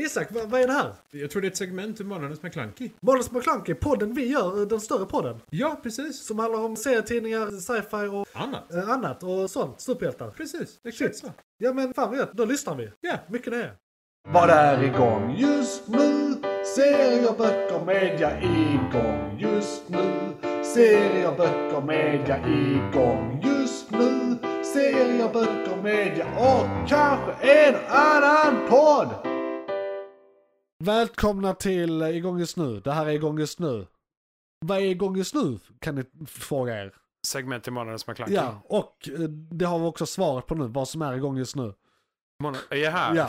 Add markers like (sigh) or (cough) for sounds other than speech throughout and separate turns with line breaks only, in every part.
Isak, vad, vad är det här?
Jag tror det är ett segment ur Månadens McKlunky.
Måns McClunky, podden vi gör, eh, den större podden.
Ja, precis.
Som handlar om serietidningar, sci-fi och
Annat.
eh, annat och sånt. Superhjältar.
Precis, exakt
Shit.
så.
Ja men fan vad gött, då lyssnar vi.
Ja.
Mycket nöje.
Vad är igång just nu? Serier, böcker, media igång just nu. Serier, böcker, media igång just nu. Serier, böcker, media och kanske en annan podd.
Välkomna till eh, Igång just nu. Det här är Igång just nu. Vad är igång just nu? Kan ni fråga er.
Segment ur Månadens McKlunky.
Ja, och eh, det har vi också svaret på nu, vad som är igång just nu.
Månad... Är jag här?
Ja.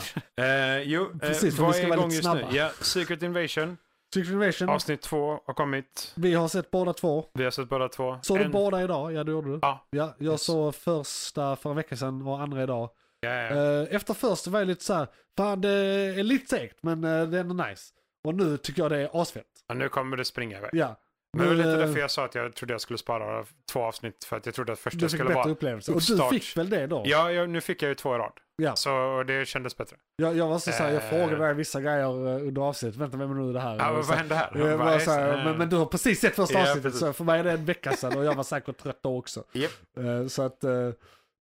Eh, jo, eh,
Precis, för vi
vad
ska
är
vara
igång
lite
just nu?
snabba.
Ja, Secret Invasion,
Secret Invasion,
avsnitt två har kommit.
vi har sett båda två.
Vi har sett båda två.
Såg du
En-
båda idag? Ja, det gjorde du.
Ja.
Ja, jag
Yes.
såg första för en vecka sedan och andra idag.
Ja, ja.
Eh, Efter första var jag lite så här, fan det är lite segt men eh, det är ändå nice. Och nu tycker jag det är asfett.
Ja, nu kommer det springa iväg.
Ja.
Men det var
Nu,
lite
eh,
därför jag sa att jag trodde jag skulle spara två avsnitt för att jag trodde att första
Du fick
skulle
bättre
vara...
upplevelse. Och du
uppstart.
fick väl det då?
Ja, ja, nu fick jag ju två i rad.
Ja.
Så det kändes bättre.
Jag, jag var så, så här, jag
Eh.
frågade dig vissa grejer eh, under avsnittet. Vänta, vem är nu det här?
Ja,
Och
vad
så-
hände här?
jag
Jag bara,
var så
just det,
här,
eh.
men, men du har precis sett första
Ja,
avsnittet
precis.
så för mig är det en vecka sedan och jag var säkert trött då också.
Japp.
Eh, Så att eh,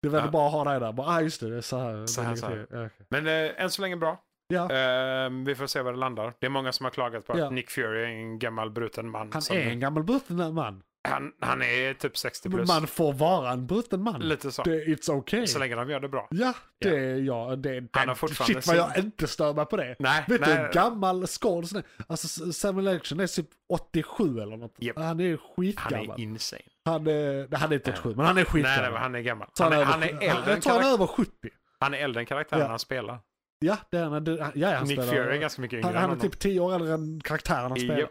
det var
Ja.
bra att ha dig där. Bara, ah, just det, det är så här.
Så här, så här.
Ja, okej.
Men eh, än så länge bra.
Ja.
Eh, vi får se var det landar. Det är många som har klagat på
Ja.
att Nick Fury är en gammal bruten man.
Han
som-
är en gammal bruten man.
han, han är typ 60 plus.
Man får vara en bruten man.
Lite så.
Det, it's okay.
Så länge de gör det bra.
Ja, det är jag. Det, är-
Han har fortfarande
shit vad
sin-
jag inte stör mig på det.
Nej,
Vet du
nej.
hur gammal skådis han är? Alltså Samuel Jackson är typ 87 eller något.
Japp.
Han är
han är
skitgammal.
insane.
Han är, nej, han är inte 87, men han är skitgammal.
Nej, nej, men han är gammal.
Så
Han är,
över-
han är äldre än
Jag tror han är
karak-
över 70.
han är äldre än karaktären
Ja.
han spelar.
Ja, det är han. Det, ja, ja, han
Nick
spelar.
Fury är ganska mycket yngre
han, han är
än
typ 10 år äldre än karaktären han spelar.
Japp.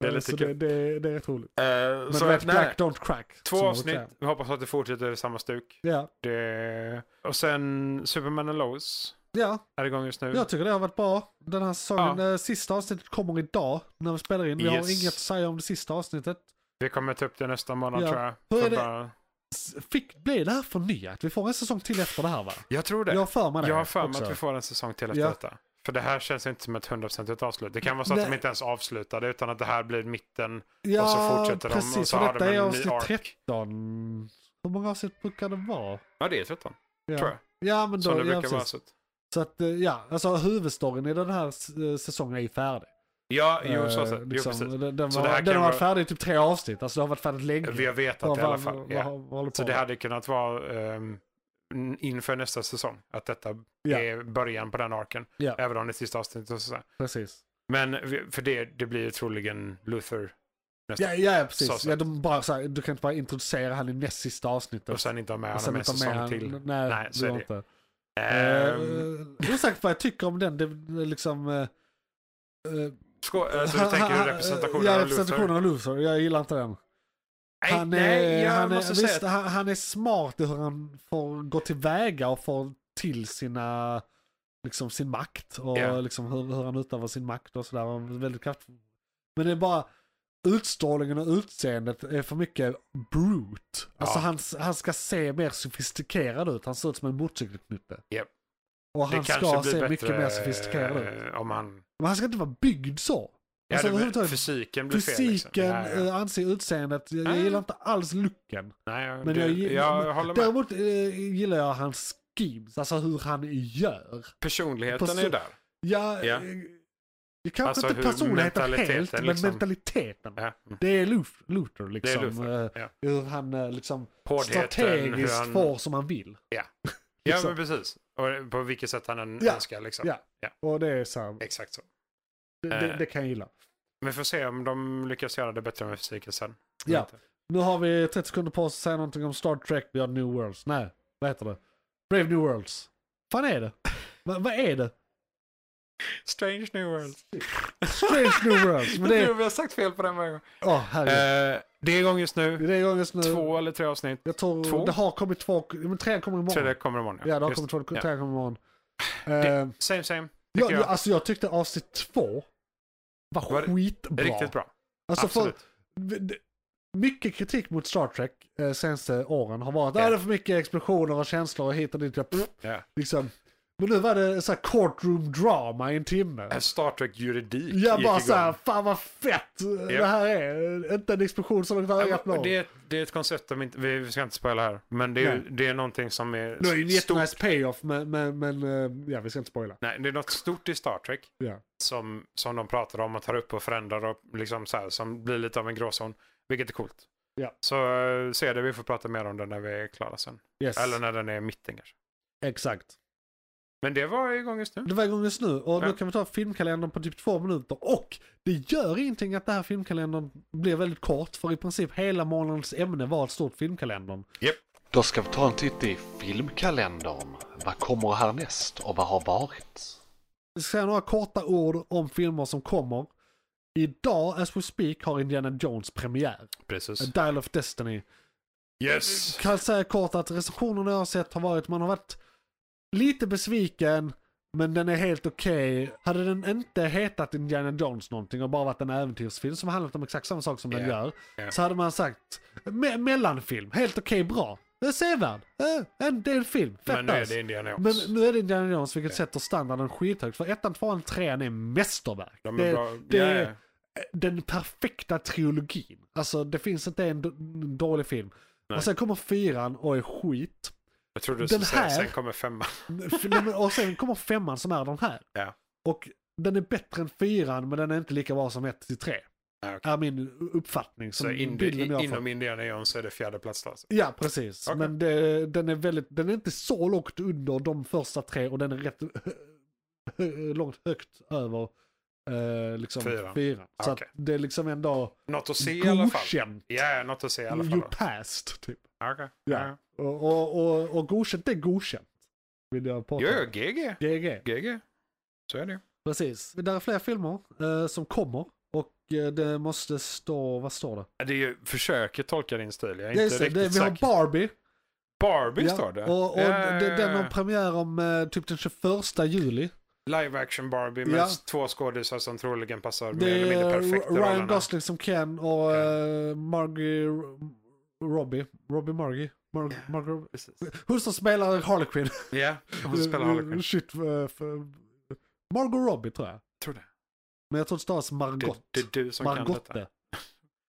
Det är lite
så
kul.
det, det, det är rätt roligt.
Eh,
Men
så
du vet,
att, nej,
Black Don't Crack. som
Två
man
avsnitt.
brukar säga.
Vi hoppas att det fortsätter i samma stuk.
Ja,
Det... eh, Och sen Superman and Lois
ja,
är igång just nu.
Jag tycker det har varit bra. Den här säsongen, eh, sista avsnittet kommer idag när vi spelar in. Vi har
Yes.
inget att säga om det sista avsnittet.
Vi kommer ta upp det nästa månad
Ja.
tror jag.
Hur är
För
det?
bara-
S- Fick, blir det här förnyat? Vi får en säsong till efter det här va?
Jag tror det.
Jag har för mig det.
Jag har för mig
också.
att vi får en säsong till efter
Ja.
detta. För det här känns inte som ett hundraprocentigt avslut. Det kan vara så att
Nej.
de inte ens avslutade utan att det här blir mitten.
Ja,
och så fortsätter de, och
precis.
så
och
har
detta
de en
är
ny
avsnitt
arc.
13. Hur många avsnitt brukar det vara?
Ja, det är 13
Ja,
tror jag.
ja men då,
Som det
ja,
brukar vara.
precis.
Så. att-
Så att, eh, ja, alltså huvudstoryn i den här eh, säsongen är ju färdig.
Ja, jo, så
Eh,
sett. Jo,
liksom,
precis.
Den, den,
Så
var,
det här
den
kan
har varit
vara-
färdig i typ tre avsnitt. Alltså det har varit färdigt länge.
Vi har vetat
Vad-
det i alla
vad-
fall.
vad-
Ja.
vad- vad håller på
Så det
med?
hade kunnat vara ehm, n- inför nästa säsong. Att detta
Ja.
är början på den arken.
Ja.
Även om det är sista avsnittet. Och sådär.
Precis.
Men vi- för det, det blir ju troligen Luther
Ja,
nästa.
ja
Så
precis.
sett.
Ja, de bara, så här, du kan inte bara introducera han i näst sista avsnittet.
Och sen inte ha med
Och
honom en
inte ha
säsong
han-
till.
Nej,
Nej,
det
så är
går
det.
inte.
Ehm,
Um... Osagt vad jag tycker om den. Det är liksom... eh, eh,
Sko- eh, så
han-
du tänker
han- (laughs)
representationen
Ja,
av Luther?
representationen av Luther. Jag gillar inte den. Han är, han, är, visst, han, han är smart i hur han får gå tillväga och får till sina, liksom, sin makt. Och
Ja.
liksom hur, hur han utövar sin makt och sådär. Och Väldigt kraftfull. Men det är bara utstrålningen och utseendet är för mycket brute. Alltså
Ja.
han, han ska se mer sofistikerad ut. Han ser ut som en motorcykelknutte.
Japp.
Och
Det
han
kanske
ska
blir
se
bättre,
mycket mer sofistikerad ut.
eh, Om han...
Men han ska inte vara byggd så.
Ja,
Alltså,
det-
överhuvudtaget-
fysiken blir fel. Liksom.
Fysiken,
Ja, ja.
eh, anse utseendet. Jag, jag
Ah.
gillar inte alls looken.
Nej, jag-
Men
det,
jag,
jag,
gi-
håller med.
Däremot eh, gillar jag hans schemes, alltså hur han gör.
Personligheten
Perso-
är ju där.
Jag,
Ja.
eh, det kanske
Alltså
inte
hur
personligheten
mentaliteten
helt, men
liksom.
mentaliteten.
Ja. Mm.
Det är Luf- Luther
Det är
liksom.
Luther.
eh,
Ja.
Hur han eh, liksom
Hårdheten, hur
strategiskt
han...
får som han vill. (laughs)
Ja,
liksom.
men precis. Och på vilket sätt han än
Ja.
önskar. Liksom.
Ja. Och det är så här,
Exakt så.
det,
Eh.
det, det kan jag gilla.
Men vi får se om de lyckas göra det bättre med fysiken sen. Jag
Ja.
vet inte.
Nu har vi 30 sekunder på oss att säga någonting om Star Trek Beyond New Worlds. Nej, vad heter det? Brave New Worlds. Vad är det? Va, vad är det?
Strange New World.
Strange New Worlds. Men det
Jag tror (laughs)
är...
vi har sagt fel på den varje gång.
Åh, herregud.
Eh, det är igång just nu.
Det är igång just nu.
Två eller tre avsnitt.
Jag tror
Två?
det har kommit två. Men trean kommer imorgon.
Tredje kommer imorgon.
Ja, det har
Just-
kommit två.
ja.
Trean kommer imorgon. Eh,
Det- Same same.
jag,
tycker
jag,
jag.
alltså jag tyckte avsnitt två var,
Var det-
skitbra.
Riktigt bra.
Alltså för,
Absolut.
det- mycket kritik mot Star Trek eh, senaste åren har varit
Ja.
yeah. det är för mycket explosioner och känslor och hit och dit. Jag, pff,
Ja.
liksom, Men nu var det så här courtroom drama i en timme.
En Eh, Star Trek-juridik
Jag
Äh, gick
bara
igång.
såhär, fan vad fett det här är. Inte en explosion som ungefär
Ja,
ögat
men
når.
det, är- det är ett koncept som inte, vi vi ska inte spoila här, men det är,
Nej.
det är någonting som är
Det är ju en
stort.
jättenice payoff men, men, men eh, ja vi ska inte spoila.
Nej, det är något stort i Star Trek
Ja.
som, som de pratar om och tar upp och förändrar och liksom så här, som blir lite av en gråzon, vilket är coolt.
Ja.
Så eh, se det, vi får prata mer om det när vi är klara sen.
Yes,
Eller när den är i mitten kanske.
exakt.
Men det var igång just nu.
Det var igång just nu och nu
Ja.
kan vi ta filmkalendern på typ två minuter. Och det gör ingenting att det här filmkalendern blir väldigt kort för i princip hela månadens ämne var ett stort filmkalendern.
Då ska vi ta en titt i filmkalendern. Vad kommer härnäst och vad har varit?
Jag ska säga några korta ord om filmer som kommer. Idag, as we speak, har Indiana Jones premiär.
Precis.
A Dial of Destiny.
Yes!
Kan säga kort att recensionerna jag har sett har varit, man har varit lite besviken, men den är helt okej. Hade den inte hetat Indiana Jones någonting och bara varit en äventyrsfilm som handlat om exakt samma sak som den
Ja,
gör,
ja.
så hade man sagt me- mellanfilm, helt okej bra. Det är sevärd, eh, en del film, fett
Men nu är
nice.
det Indiana
Men
Jones.
nu är det Indiana Jones vilket sätter standarden skithögt. För ettan, tvåan, trean är mästerverk.
De
det
är
är
bra.
det
Ja,
är-
ja.
den perfekta trilogin. Alltså det finns inte en d- dålig film.
Nej.
Och sen kommer fyran och är skit.
Jag trodde du
den
skulle säga,
här-
sen kommer femman.
Filmen- och sen kommer femman som är den här.
Ja.
Och den är bättre än fyran men den är inte lika bra som ett till tre.
Ja, okej.
Är min uppfattning. Som
Så in,
bilden jag
i,
har
inom
fått.
Indiana Jones är det fjärde plats då, alltså.
Ja, precis.
Okej.
Men det, den, är väldigt, den är inte så långt under de första tre och den är rätt långt högt över eh, liksom
Fyran.
fyran. Så
Okej.
att det är liksom ändå
Något att se i alla fall.
godkänt.
Ja, ja, något att se i alla fall.
You
då.
passed, typ.
Okej.
Ja.
Ja.
Och, och, och, och godkänt är godkänt. Vill jag
Jo,
påpeka.
jo, GG.
GG.
GG. Så är det ju.
Precis. Där är fler filmer eh, som kommer. Och eh, det måste stå, vad står det?
Ja, Det är ju, försöker tolka din stil. Jag är
Ja,
inte
just det,
riktigt
det, vi har
säker.
Barbie.
Barbie
Ja,
står det.
Och, och
Ja, ja,
d-
ja,
den
ja.
har premiär om eh, typ den 21 juli.
Live action Barbie med
Ja.
två skådisar som troligen passar mer
Det
eller mindre
är
perfekt i
R- Ryan
rollerna.
Gosling som Ken och eh, Margie R- Robbie. Robbie Margie. Mar- Margot-
Precis.
Hon som spelar Harley Quinn.
Ja, hon spelar Harley Quinn.
Shit. eh, för- Margot Robbie tror jag.
Tror det.
Men jag tror det stavas
Det,
Margot.
det är du som kan detta. (laughs)
Margotte.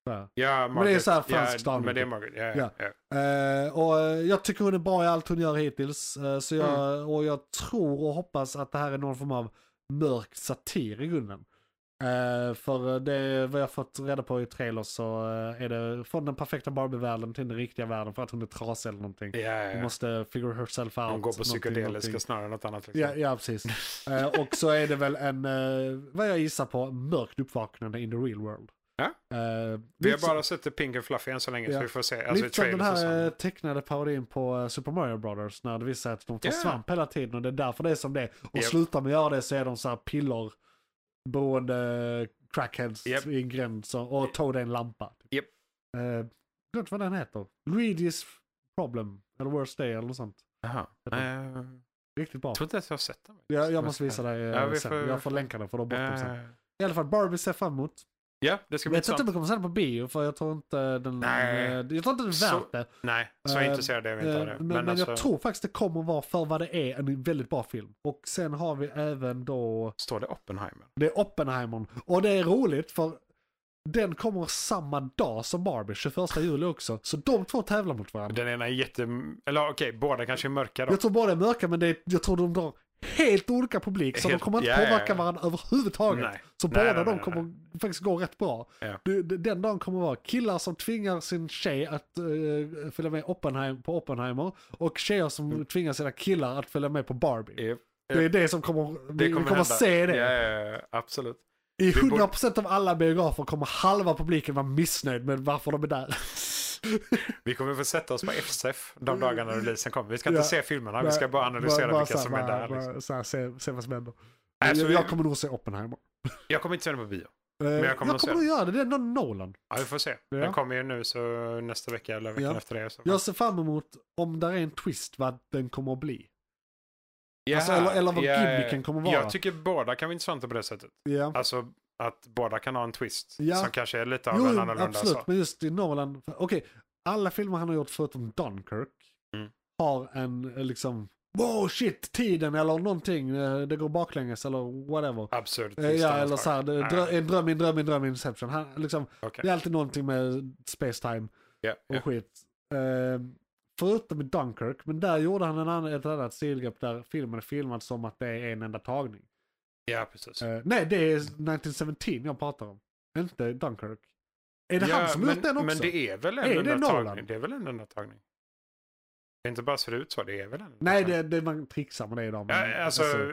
Ja.
Ja, Margaret.
så här typ. franskt
ja,
namn.
Men det är Margaret. Ja, ja, ja.
Eh, och eh, jag tycker hon är bra i allt hon gör hittills. eh, så jag,
Mm.
Och jag tror och hoppas att det här är någon form av mörk satir i grunden. Eh, för det är vad jag fått reda på i trailers så eh, är det från den perfekta Barbie-världen till den riktiga världen för att hon är trasig eller någonting.
ja, ja,
Hon
ja.
måste figure herself out.
Hon går på
någonting,
psykedeliska
någonting.
snarare än något annat. Liksom.
Ja, ja precis. Eh, och så är det väl en, eh, vad jag gissar på, mörkt uppvaknande in the real world.
Ja.
Eh,
Vi har
lite så-
bara sett det Pink and Fluffy än så länge,
Ja.
så vi får se. Alltså,
Lite som den
trailers och
här eh,
sånt.
tecknade parodin på eh, Super Mario Brothers när det visar sig att de tar
Ja.
svamp hela tiden och det är därför det är som det är. Och
Japp.
slutar med att göra det så är de så här piller beroende crackheads
Japp.
i en gränd som- och Toad är en lampa.
Japp.
Eh, Glömt vad den heter. Luigi's Problem eller Worst Day eller något sånt.
Jaha. Eh,
Riktigt bra.
Jag tror inte ens jag har sett den.
Jag, jag måste visa dig eh,
Ja, vi
sen.
får-
Jag får länka den för de bort dem sen.
Eh,
I alla fall Barbie ser jag fram emot.
Ja, det ska
Jag
bli
vet inte om
intressant.
jag kommer se den på bio för jag tror inte den...
Nej.
eh, Jag tror inte den är
Så-
värt det.
Nej, så
Eh,
intresserad är vi inte
Eh,
av det.
Men, men
alltså,
jag tror faktiskt det kommer vara för vad det är en väldigt bra film. Och sen har vi även då,
Står det Oppenheimer?
det är Oppenheimer. Och det är roligt för den kommer samma dag som Barbie, 21 juli också. Så de två tävlar mot varandra.
Den ena är jätte... Eller okej, båda kanske är mörka då.
Jag tror båda är mörka men det är, jag tror de drar helt olika publik så
Helt-
de kommer inte
ja, ja, ja.
påverka varandra överhuvudtaget.
Nej.
Så
Nej,
båda
nej, nej,
de
nej,
kommer faktiskt gå rätt bra.
Ja.
Du- d- Den dagen kommer vara killar som tvingar sin tjej att eh, följa med Oppenheim, på Oppenheimer och tjejer som
Mm.
tvingar sina killar att följa med på Barbie.
Japp,
Det är det som kommer, vi kommer,
hända.
se det.
Ja, ja, ja, absolut.
I
Vi borde-
100% av alla biografer kommer halva publiken vara missnöjd med varför de är där.
Vi kommer få sätta oss på FSF de dagarna releasen kommer. Vi ska inte
Mm. Ja.
se filmerna, vi ska bara analysera
Bara
vilka
så här,
som är
bara-
där. Liksom.
bara så här, se, se vad som händer.
Nej, så
jag,
vi-
jag kommer nog se Oppenheimer.
Jag kommer inte se den på bio.
Eh,
jag kommer
jag
att se
kommer nog göra det, det är ändå Nolan.
Ja, vi får se.
Ja.
Den kommer ju nu så nästa vecka eller veckan
Ja.
efter det. Så.
Jag ser fram emot om där är en twist vad den kommer att bli.
Ja,
alltså, eller- eller vad
ja,
gimmicken kommer vara.
Jag tycker båda kan vara intressanta på det sättet.
Ja.
Alltså att båda kan ha en twist
Ja.
som kanske är lite av
Jo,
en alltså.
jo,
annorlunda.
absolut.
Så.
Men just i Nolan, okej, alla filmer han har gjort förutom Dunkirk
Mm.
har en eh, liksom wow shit, tiden eller någonting, eh, det går baklänges eller whatever.
Absurt
Eh, Ja,
tillstånd
eller
för-
så här, det,
Nej,
drö- en dröm, en dröm, en dröm, Inception. Han, liksom,
okej.
det är alltid någonting med space-time
Ja,
och
ja.
skit. Eh, förutom i Dunkirk, men där gjorde han en annan, ett annat stilgrepp där filmen är filmad som att det är en enda tagning.
Ja, precis.
Eh, nej, det är 1917 jag pratar om. Inte Dunkirk. Är det
ja,
han som har
men,
gjort den också?
Men det är väl en
Är det
enda
Nolan?
tagning? Det är väl en enda tagning? Det är inte bara ser ut så, det är väl en enda
Nej,
tagning?
det, det, man trixar med det idag. men
Ja, alltså, eh,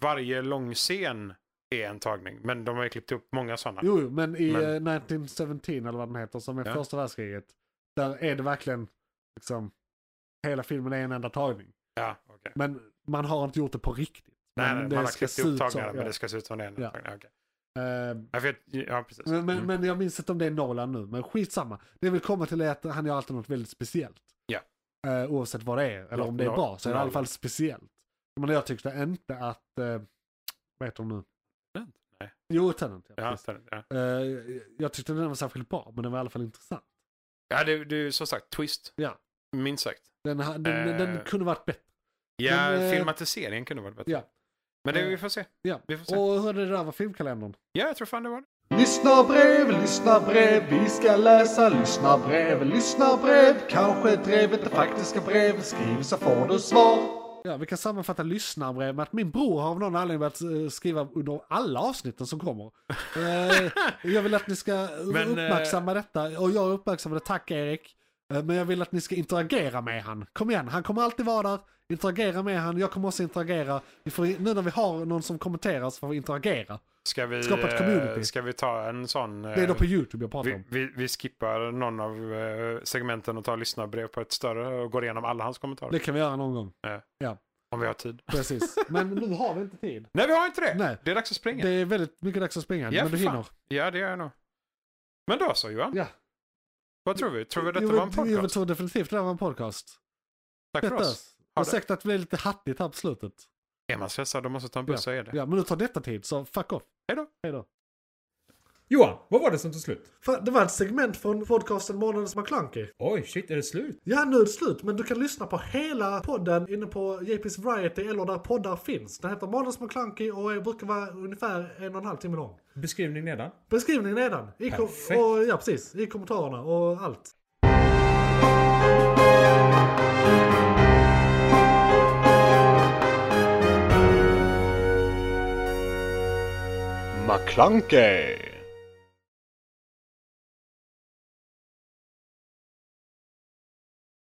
varje långscen är en tagning, men de har ju klippt upp många sådana.
jo, jo, men i
men-
eh, 1917 eller vad den heter, som är
Ja.
första världskriget, där är det verkligen liksom, hela filmen är en enda tagning.
Ja, okej.
Men man har inte gjort det på riktigt.
Nej,
Men
nej,
det
man har
ska
klippt
se
ihop
ut som-
tagningarna, men
ja.
det ska se ut som det är en
Ja.
ja. tagning. okej.
Eh,
Ja, för jag- ja, precis.
Men, men,
Mm.
men jag minns inte om det är Nolan nu, men skitsamma. Det jag vill komma till är att han gör alltid något väldigt speciellt.
Ja.
Eh, oavsett vad det är, eller
Något-
om det är
något-
bra, så är det i alla
något.
fall speciellt. Men jag tyckte inte att, eh, vad heter hon nu?
Tenant? Nej.
Jo, Tenant. Ja,
Ja,
precis.
tenant, ja.
Eh, jag tyckte inte den var särskilt bra, men den var i alla fall intressant.
ja det, det är ju som sagt twist.
Ja.
Minst sagt.
Den, ha- den,
Eh.
den kunde varit bättre.
Ja,
Men, eh,
filmatiseringen kunde varit bättre.
Ja.
Men det,
eh,
vi får se.
ja.
Vi får se.
Och hur är det där var filmkalendern?
Ja, jag tror fan det var det.
Lyssna brev, lyssna brev, vi ska läsa lyssna brev, lyssna brev. Kanske drevet det faktiska brev, skriv så får du svar.
Ja, vi kan sammanfatta lyssnarbrev med att min bror har av någon anledning börjat eh, skriva under alla avsnitten som kommer. Eh, jag vill att ni ska
(laughs) Men, eh,
uppmärksamma detta, och jag uppmärksammade, tack Erik. Eh, Men jag vill att ni ska interagera med han. Kom igen, han kommer alltid vara där. Interagera med han, jag kommer också interagera. Vi får, nu när vi har någon som kommenterar så får vi interagera.
Ska vi,
Skapa ett
eh,
community.
Ska vi ta en sån...
Det är då
eh,
på YouTube jag pratar
vi,
om.
vi, vi skippar någon av eh, segmenten och tar lyssnarbrev på ett större och går igenom alla hans kommentarer.
Det kan vi göra någon gång,
Om vi har tid.
precis. Men nu har vi inte tid.
Nej, vi har inte det!
Nej.
Det är dags att springa.
Det är väldigt mycket dags att springa,
Ja,
men du
för fan.
hinner.
Ja, det gör jag nog. Men då så Johan.
Ja.
Vad tror vi? Tror vi detta
Jo,
var en
men- jo, men
podcast?
tror definitivt det här var en podcast.
Tack för
Detta.
oss. Ha det.
Ursäkta att det blev lite hattigt här på slutet.
Är man stressad då måste man ta en buss så är det.
Ja, men nu tar detta tid, så fuck off.
Hej då.
Hej då.
Johan, vad var det som tog slut?
Det var ett segment från podcasten Månadens McKlunky.
Oj, shit, är det slut?
Ja, nu är det slut, men du kan lyssna på hela podden inne på JP's Variety eller där poddar finns. Den heter Månadens McKlunky och brukar vara ungefär en och en halv timme lång.
Beskrivning nedan.
Beskrivningen nedan. I kom-
Perfekt.
och, ja, precis. I kommentarerna och allt.
McClunkey!